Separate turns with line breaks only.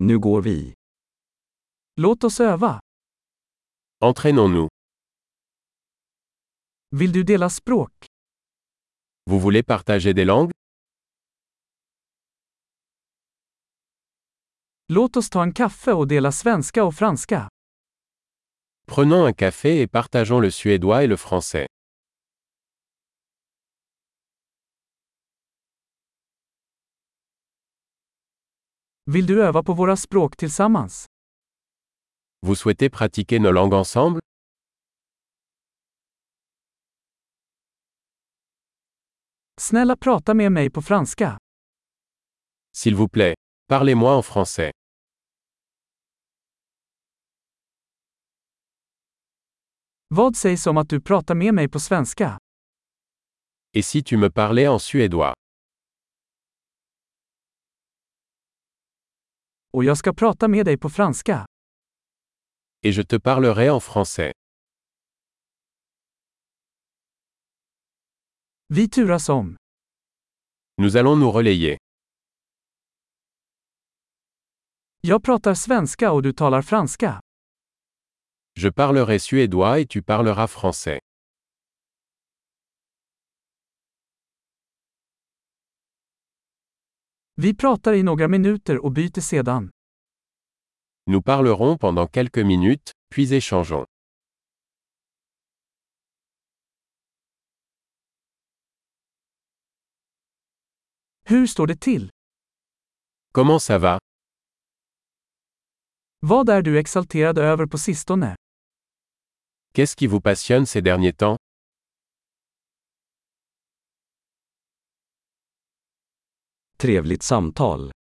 Nu går vi. Låt oss öva.
Entraînons-nous.
Vill du dela språk?
Vous voulez partager des langues
Låt oss ta en kaffe och dela svenska och franska.
Prenons un café et partageons le suédois et le français.
Vill du öva på våra språk tillsammans?
Vous souhaitez pratiquer nos langues ensemble
Snälla prata med mig på franska.
S'il vous plaît, parlez-moi en français.
Vad sägs om att du pratar med mig på svenska?
Et si tu me parlais en suédois
Och jag ska prata med dig på franska.
Et je te parlerai en français.
Vi turas om.
Nous allons nous relayer.
Jag pratar svenska och du talar franska.
Je parlerai suédois et tu parleras français.
Vi pratar i några minuter och byter sedan.
Nous parlerons pendant quelques minutes, puis échangeons.
Hur står det till?
Comment ça va
Vad är du exalterad över på sistone?
Qu'est-ce qui vous passionne ces derniers temps
Trevligt samtal.